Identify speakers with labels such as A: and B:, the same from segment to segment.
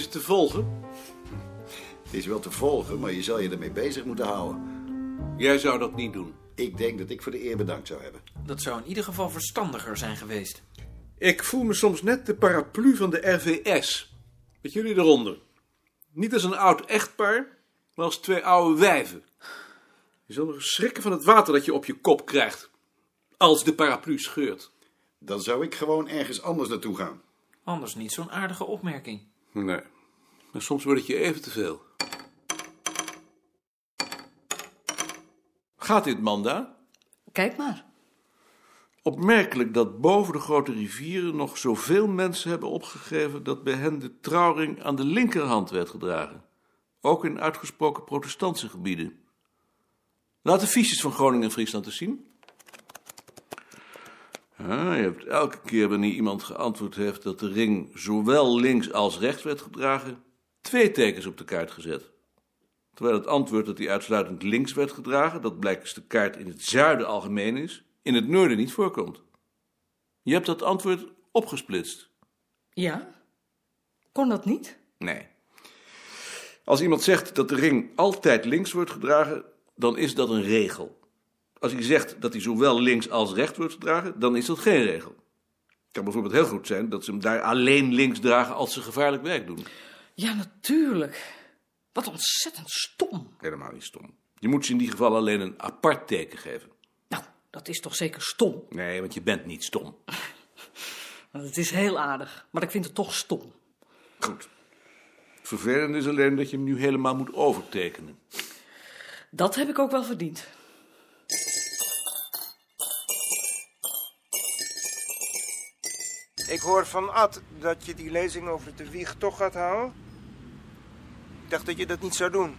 A: volgen?
B: Het is wel te volgen, maar je zal je ermee bezig moeten houden.
A: Jij zou dat niet doen.
B: Ik denk dat ik voor de eer bedankt zou hebben.
C: Dat zou in ieder geval verstandiger zijn geweest.
A: Ik voel me soms net de paraplu van de RVS. Met jullie eronder. Niet als een oud echtpaar, maar als twee oude wijven. Je zal nog eens schrikken van het water dat je op je kop krijgt. Als de paraplu scheurt.
B: Dan zou ik gewoon ergens anders naartoe gaan.
C: Anders niet zo'n aardige opmerking.
A: Nee. Maar soms wordt het je even te veel.
D: Gaat dit, Manda?
E: Kijk maar.
D: Opmerkelijk dat boven de grote rivieren nog zoveel mensen hebben opgegeven dat bij hen de trouwring aan de linkerhand werd gedragen. Ook in uitgesproken protestantse gebieden. Laat de fiches van Groningen en Friesland eens zien. Ah, je hebt elke keer wanneer iemand geantwoord heeft dat de ring zowel links als rechts werd gedragen, twee tekens op de kaart gezet. Terwijl het antwoord dat die uitsluitend links werd gedragen, dat blijkens de kaart in het zuiden algemeen is, in het noorden niet voorkomt. Je hebt dat antwoord opgesplitst.
E: Ja? Kon dat niet?
D: Nee. Als iemand zegt dat de ring altijd links wordt gedragen, dan is dat een regel. Als hij zegt dat hij zowel links als rechts wordt gedragen, dan is dat geen regel. Het kan bijvoorbeeld heel goed zijn dat ze hem daar alleen links dragen als ze gevaarlijk werk doen.
E: Ja, natuurlijk. Wat ontzettend stom.
D: Helemaal niet stom. Je moet ze in die geval alleen een apart teken geven.
E: Nou, dat is toch zeker stom?
D: Nee, want je bent niet stom.
E: Want Het is heel aardig, maar ik vind het toch stom.
D: Goed. Het vervelende is alleen dat je hem nu helemaal moet overtekenen.
E: Dat heb ik ook wel verdiend.
F: Ik hoor van Ad dat je die lezing over de wieg toch gaat houden. Ik dacht dat je dat niet zou doen.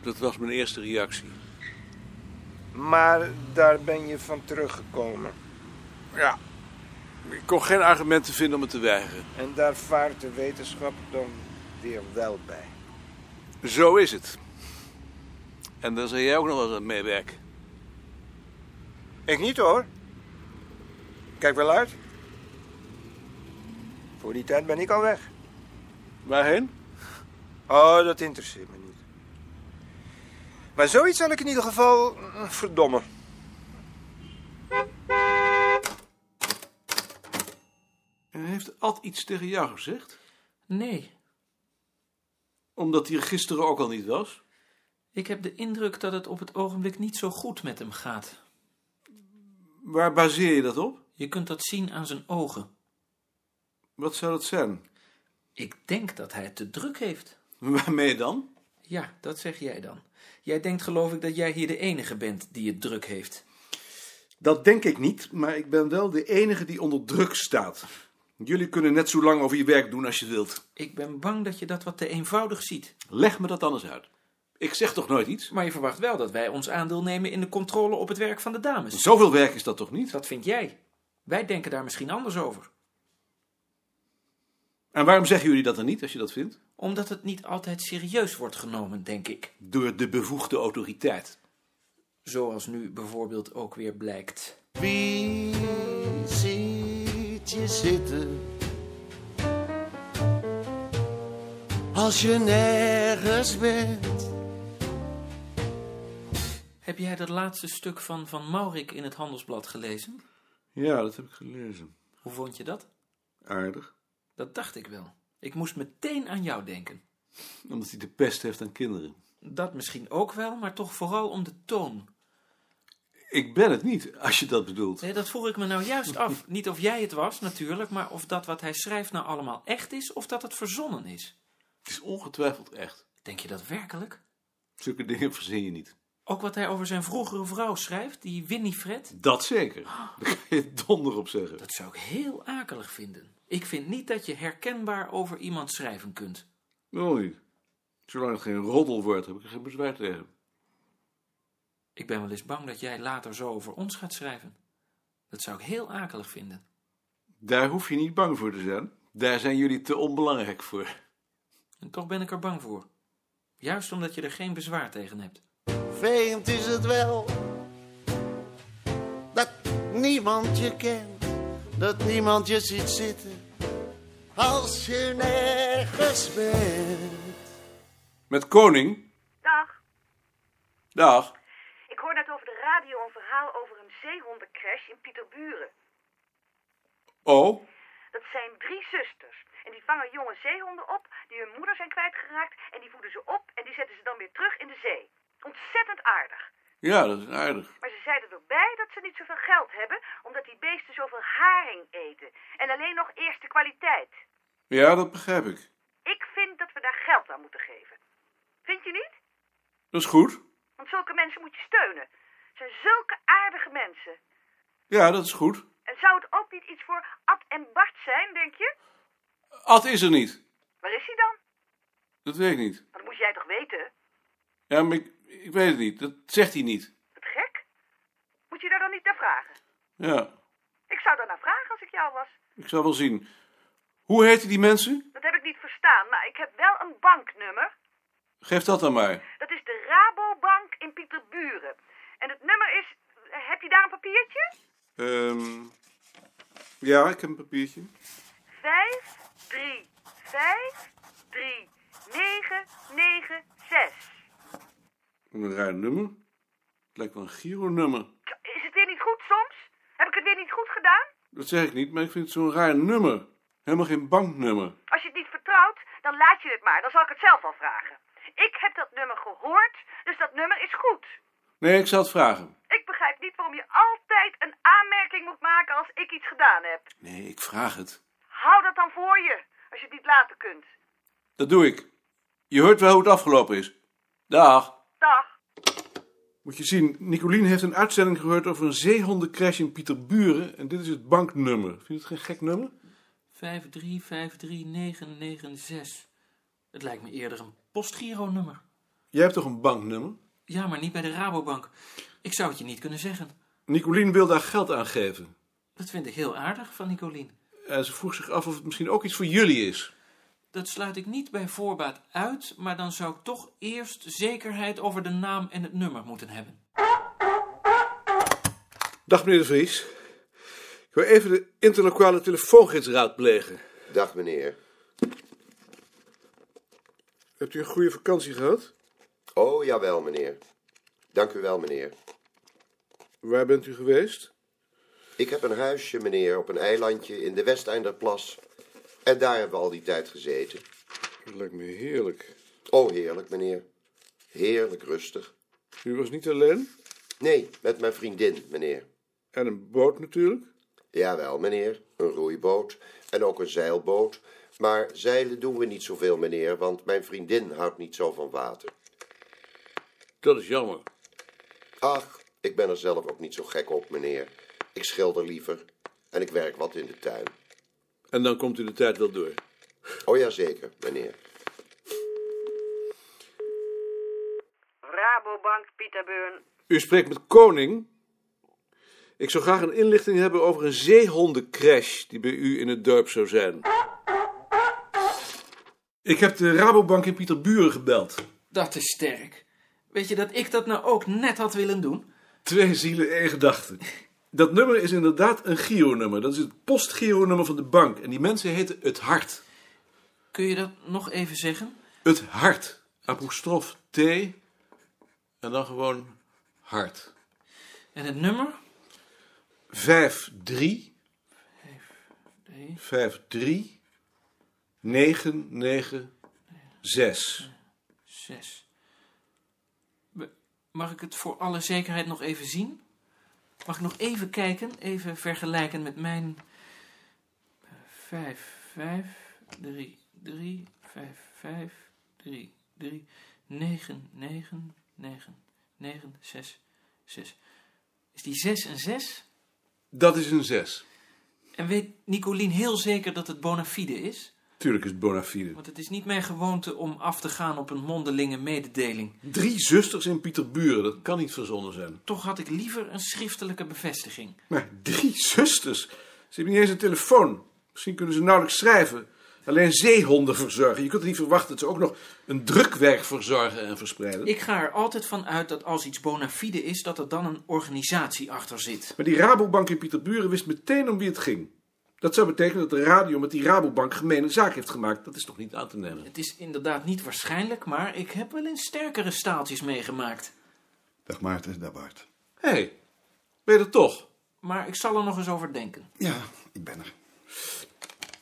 D: Dat was mijn eerste reactie.
F: Maar daar ben je van teruggekomen.
D: Ja. Ik kon geen argumenten vinden om het te weigeren.
F: En daar vaart de wetenschap dan weer wel bij.
D: Zo is het. En daar zou jij ook nog wel eens aan meewerken.
F: Ik niet hoor. Kijk wel uit. Voor die tijd ben ik al weg.
D: Waarheen?
F: Oh, dat interesseert me niet. Maar zoiets zal ik in ieder geval eh, verdommen.
D: En heeft Ad iets tegen jou gezegd?
C: Nee,
D: Omdat hij er gisteren ook al niet was?
C: ik heb de indruk dat het op het ogenblik niet zo goed met hem gaat.
D: Waar baseer je dat op?
C: Je kunt dat zien aan zijn ogen.
D: Wat zou dat zijn?
C: Ik denk dat hij het te druk heeft.
D: Waarmee dan?
C: Ja, dat zeg jij dan. Jij denkt geloof ik dat jij hier de enige bent die het druk heeft.
D: Dat denk ik niet, maar ik ben wel de enige die onder druk staat. Jullie kunnen net zo lang over je werk doen als je wilt.
C: Ik ben bang dat je dat wat te eenvoudig ziet.
D: Leg me dat dan eens uit. Ik zeg toch nooit iets?
C: Maar je verwacht wel dat wij ons aandeel nemen in de controle op het werk van de dames.
D: Zoveel werk is dat toch niet?
C: Dat vind jij. Wij denken daar misschien anders over.
D: En waarom zeggen jullie dat dan niet, als je dat vindt?
C: Omdat het niet altijd serieus wordt genomen, denk ik.
D: Door de bevoegde autoriteit.
C: Zoals nu bijvoorbeeld ook weer blijkt.
G: Wie ziet je zitten? Als je nergens bent.
C: Heb jij dat laatste stuk van Van Maurik in het Handelsblad gelezen?
D: Ja, dat heb ik gelezen.
C: Hoe vond je dat?
D: Aardig.
C: Dat dacht ik wel. Ik moest meteen aan jou denken.
D: Omdat hij de pest heeft aan kinderen.
C: Dat misschien ook wel, maar toch vooral om de toon.
D: Ik ben het niet, als je dat bedoelt.
C: Nee, dat vroeg ik me nou juist af. Niet of jij het was, natuurlijk, maar of dat wat hij schrijft nou allemaal echt is of dat het verzonnen is.
D: Het is ongetwijfeld echt.
C: Denk je dat werkelijk?
D: Zulke dingen verzin je niet.
C: Ook wat hij over zijn vroegere vrouw schrijft, die Winifred,
D: Dat zeker. Daar kan je donder op zeggen.
C: dat zou ik heel akelig vinden. Ik vind niet dat je herkenbaar over iemand schrijven kunt.
D: Wel niet. Zolang het geen roddel wordt, heb ik er geen bezwaar tegen.
C: Ik ben wel eens bang dat jij later zo over ons gaat schrijven. Dat zou ik heel akelig vinden.
D: Daar hoef je niet bang voor te zijn. Daar zijn jullie te onbelangrijk voor.
C: En toch ben ik er bang voor. Juist omdat je er geen bezwaar tegen hebt.
G: Vreemd is het wel dat niemand je kent, dat niemand je ziet zitten. als je nergens bent.
H: Met koning.
I: Dag.
H: Dag.
I: Ik hoor net over de radio een verhaal over een zeehondencrash in Pieterburen.
H: Oh,
I: Dat zijn drie zusters. En die vangen jonge zeehonden op die hun moeder zijn kwijtgeraakt. En die voeden ze op en die zetten ze dan weer terug in de zee. Ontzettend aardig.
H: ja, dat is aardig.
I: Maar ze zeiden erbij dat ze niet zoveel geld hebben, omdat die beesten zoveel haring eten. En alleen nog eerste kwaliteit.
H: Ja, dat begrijp ik.
I: Ik vind dat we daar geld aan moeten geven. Vind je niet?
H: Dat is goed.
I: Want zulke mensen moet je steunen. Het zijn zulke aardige mensen.
H: Ja, dat is goed.
I: En zou het ook niet iets voor Ad en Bart zijn, denk je?
H: Ad is er niet.
I: Waar is hij dan?
H: Dat weet ik niet.
I: Maar Dat moest jij toch weten?
H: Ja, maar ik, ik weet het niet. Dat zegt hij niet.
I: Wat gek. Moet je daar dan niet naar vragen?
H: Ja,
I: Ik zou daar naar vragen als ik jou was.
H: ik zal wel zien. Hoe heten die mensen?
I: Dat heb ik niet verstaan, maar ik heb wel een banknummer.
H: Geef dat aan mij.
I: Dat is de Rabobank in Pieterburen. En het nummer is... Heb je daar een papiertje?
H: Ehm ja, ik heb een papiertje.
I: 5, 3, 5, 3, 9, 9, 6.
H: Een raar nummer. Het lijkt wel een Giro-nummer.
I: Is het weer niet goed soms? Heb ik het weer niet goed gedaan?
H: Dat zeg ik niet, maar ik vind het zo'n raar nummer. Helemaal geen banknummer.
I: Als je het niet vertrouwt, dan laat je het maar. Dan zal ik het zelf al vragen. Ik heb dat nummer gehoord, dus dat nummer is goed.
H: Nee, ik zal het vragen.
I: Ik begrijp niet waarom je altijd een aanmerking moet maken als ik iets gedaan heb.
H: Nee, ik vraag het.
I: Hou dat dan voor je, als je het niet laten kunt.
H: Dat doe ik. Je hoort wel hoe het afgelopen is. Dag.
I: Dag.
D: Moet je zien, Nicolien heeft een uitzending gehoord over een zeehondencrash in Pieterburen. En dit is het banknummer. Vind je het geen gek nummer?
C: 5353996. Het lijkt me eerder een postgiro-nummer.
D: Jij hebt toch een banknummer?
C: Ja, maar niet bij de Rabobank. Ik zou het je niet kunnen zeggen.
D: Nicolien wil daar geld aan geven.
C: Dat vind ik heel aardig van Nicolien.
D: En Eh, ze vroeg zich af of het misschien ook iets voor jullie is.
C: Dat sluit ik niet bij voorbaat uit, maar dan zou ik toch eerst zekerheid over de naam en het nummer moeten hebben.
D: Dag meneer de Vries. Ik wil even de interlokale telefoongids raadplegen.
B: Dag meneer.
D: Hebt u een goede vakantie gehad?
B: Oh, jawel meneer. Dank u wel meneer.
D: Waar bent u geweest?
B: Ik heb een huisje meneer op een eilandje in de Westeinderplas. En daar hebben we al die tijd gezeten.
D: Dat lijkt me heerlijk.
B: Oh, heerlijk meneer. Heerlijk rustig.
D: U was niet alleen?
B: Nee, met mijn vriendin meneer.
D: En een boot natuurlijk.
B: Jawel, meneer. Een roeiboot en ook een zeilboot. Maar zeilen doen we niet zoveel, meneer, want mijn vriendin houdt niet zo van water.
H: Dat is jammer.
B: Ach, ik ben er zelf ook niet zo gek op, meneer. Ik schilder liever en ik werk wat in de tuin.
H: En dan komt u de tijd wel door.
B: Oh ja, zeker, meneer.
I: Rabobank, Pieter Beurn.
D: U spreekt met Koning. Ik zou graag een inlichting hebben over een zeehondencrash die bij u in het dorp zou zijn. Ik heb de Rabobank in Pieterburen gebeld.
C: Dat is sterk. Weet je dat ik dat nou ook net had willen doen?
D: Twee zielen, één gedachte. Dat nummer is inderdaad een Giro-nummer. Dat is het postgiro-nummer van de bank. En die mensen heten Het Hart.
C: Kun je dat nog even zeggen?
D: Het Hart. Apostrof T. En dan gewoon Hart.
C: En het nummer?
D: 5, 3. 5, 3. 9, 9, 6.
C: Zes. We- Mag ik het voor alle zekerheid nog even zien? Mag ik nog even kijken, even vergelijken met mijn... eh, Vijf, vijf, drie, drie, vijf, vijf, drie, drie, negen, negen, negen, negen, zes, zes. Is die zes een zes?
D: Dat is een 6.
C: En weet Nicolien heel zeker dat het bona fide is?
D: Tuurlijk is het bona fide.
C: Want het is niet mijn gewoonte om af te gaan op een mondelinge mededeling.
D: Drie zusters in Pieterburen, dat kan niet verzonnen zijn.
C: Toch had ik liever een schriftelijke bevestiging.
D: Maar drie zusters? Ze hebben niet eens een telefoon. Misschien kunnen ze nauwelijks schrijven. Alleen zeehonden verzorgen. Je kunt niet verwachten dat ze ook nog een drukwerk verzorgen en verspreiden.
C: Ik ga er altijd van uit dat als iets bona fide is, dat er dan een organisatie achter zit.
D: Maar die Rabobank in Pieterburen wist meteen om wie het ging. Dat zou betekenen dat de radio met die Rabobank gemene zaak heeft gemaakt. Dat is toch niet aan te nemen?
C: Het is inderdaad niet waarschijnlijk, maar ik heb wel eens sterkere staaltjes meegemaakt.
J: Dag Maarten, dag Bart.
D: Hé, hey, ben je er toch?
C: Maar ik zal er nog eens over denken.
J: Ja, ik ben er.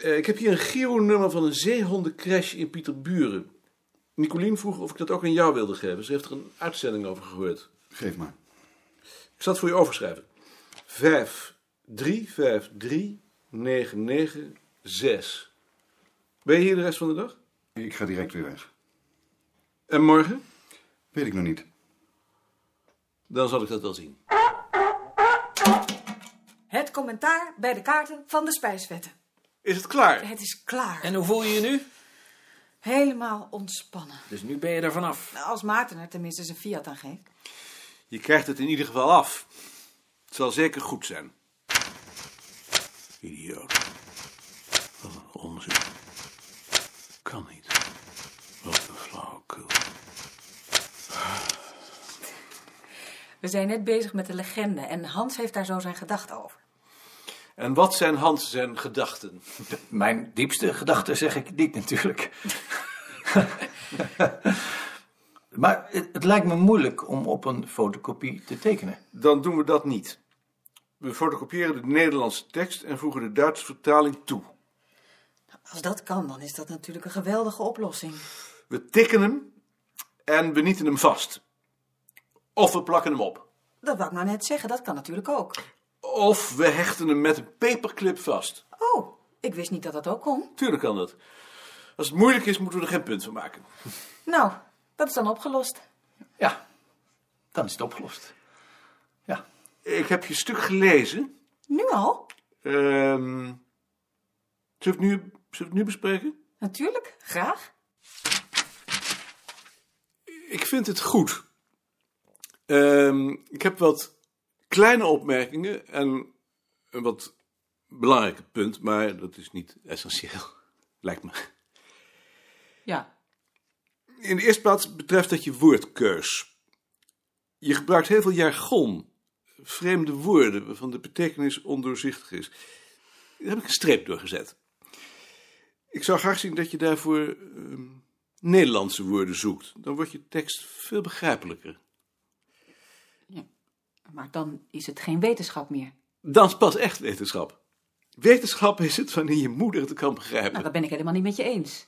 D: Eh, ik heb hier een Giro-nummer van een zeehondencrash in Pieterburen. Nicolien vroeg of ik dat ook aan jou wilde geven. Ze heeft er een uitzending over gehoord.
J: Geef maar.
D: Ik zal het voor je overschrijven. 5, 3, 5, 3, 9, 9, 6. Ben je hier de rest van de dag?
J: Ik ga direct weer weg.
D: En morgen?
J: Weet ik nog niet.
D: Dan zal ik dat wel zien.
K: Het commentaar bij de kaarten van de spijswetten.
D: Is het klaar?
K: Het is klaar.
C: En hoe voel je je nu?
K: Helemaal ontspannen.
C: Dus nu ben je er vanaf.
K: Als Maarten er tenminste zijn fiat aan geeft.
D: Je krijgt het in ieder geval af. Het zal zeker goed zijn.
H: Idioot. Wat een onzin. Kan niet. Wat een flauwekul.
K: We zijn net bezig met de legende en Hans heeft daar zo zijn gedachten over.
D: En wat zijn Hans zijn gedachten?
L: Mijn diepste gedachten zeg ik niet natuurlijk. maar het, het lijkt me moeilijk om op een fotocopie te tekenen.
D: Dan doen we dat niet. We fotocopiëren de Nederlandse tekst en voegen de Duitse vertaling toe.
K: Als dat kan, dan is dat natuurlijk een geweldige oplossing.
D: We tikken hem en we nieten hem vast. Of we plakken hem op.
K: Dat wou ik nou net zeggen, dat kan natuurlijk ook.
D: Of we hechten hem met een paperclip vast.
K: Oh, ik wist niet dat dat ook kon.
D: Tuurlijk kan dat. Als het moeilijk is, moeten we er geen punt van maken.
K: Nou, dat is dan opgelost.
L: Ja, dan is het opgelost. Ja,
D: Ik heb je stuk gelezen.
K: Nu al?
D: Ehm zullen, we het nu, zullen we het nu bespreken?
K: Natuurlijk, graag.
D: Ik vind het goed. Ehm, ik heb wat kleine opmerkingen en een wat belangrijk punt, maar dat is niet essentieel, lijkt me.
E: Ja,
D: In de eerste plaats betreft dat je woordkeus. Je gebruikt heel veel jargon, vreemde woorden waarvan de betekenis ondoorzichtig is. Daar heb ik een streep door gezet. Ik zou graag zien dat je daarvoor ehm, Nederlandse woorden zoekt. Dan wordt je tekst veel begrijpelijker.
E: maar dan is het geen wetenschap meer.
D: Dan is pas echt wetenschap. Wetenschap is het wanneer je moeder het kan
E: Nou,
D: begrijpen.
E: dat ben ik helemaal niet met je eens.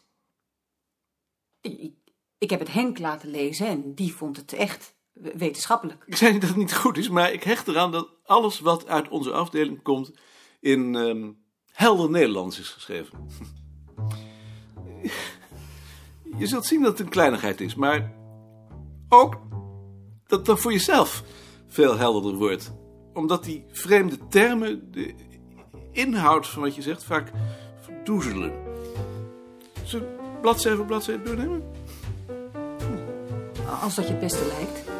E: Ik, ik, ik heb het Henk laten lezen en die vond het echt we- wetenschappelijk.
D: Ik zei niet dat het niet goed is, maar ik hecht eraan dat alles wat uit onze afdeling komt in ehm, helder Nederlands is geschreven. Je zult zien dat het een kleinigheid is, maar ook dat dat voor jezelf veel helderder wordt. Omdat die vreemde termen de inhoud van wat je zegt vaak verdoezelen. Zullen we bladzij voor bladzij doornemen?
E: Als dat je het beste lijkt.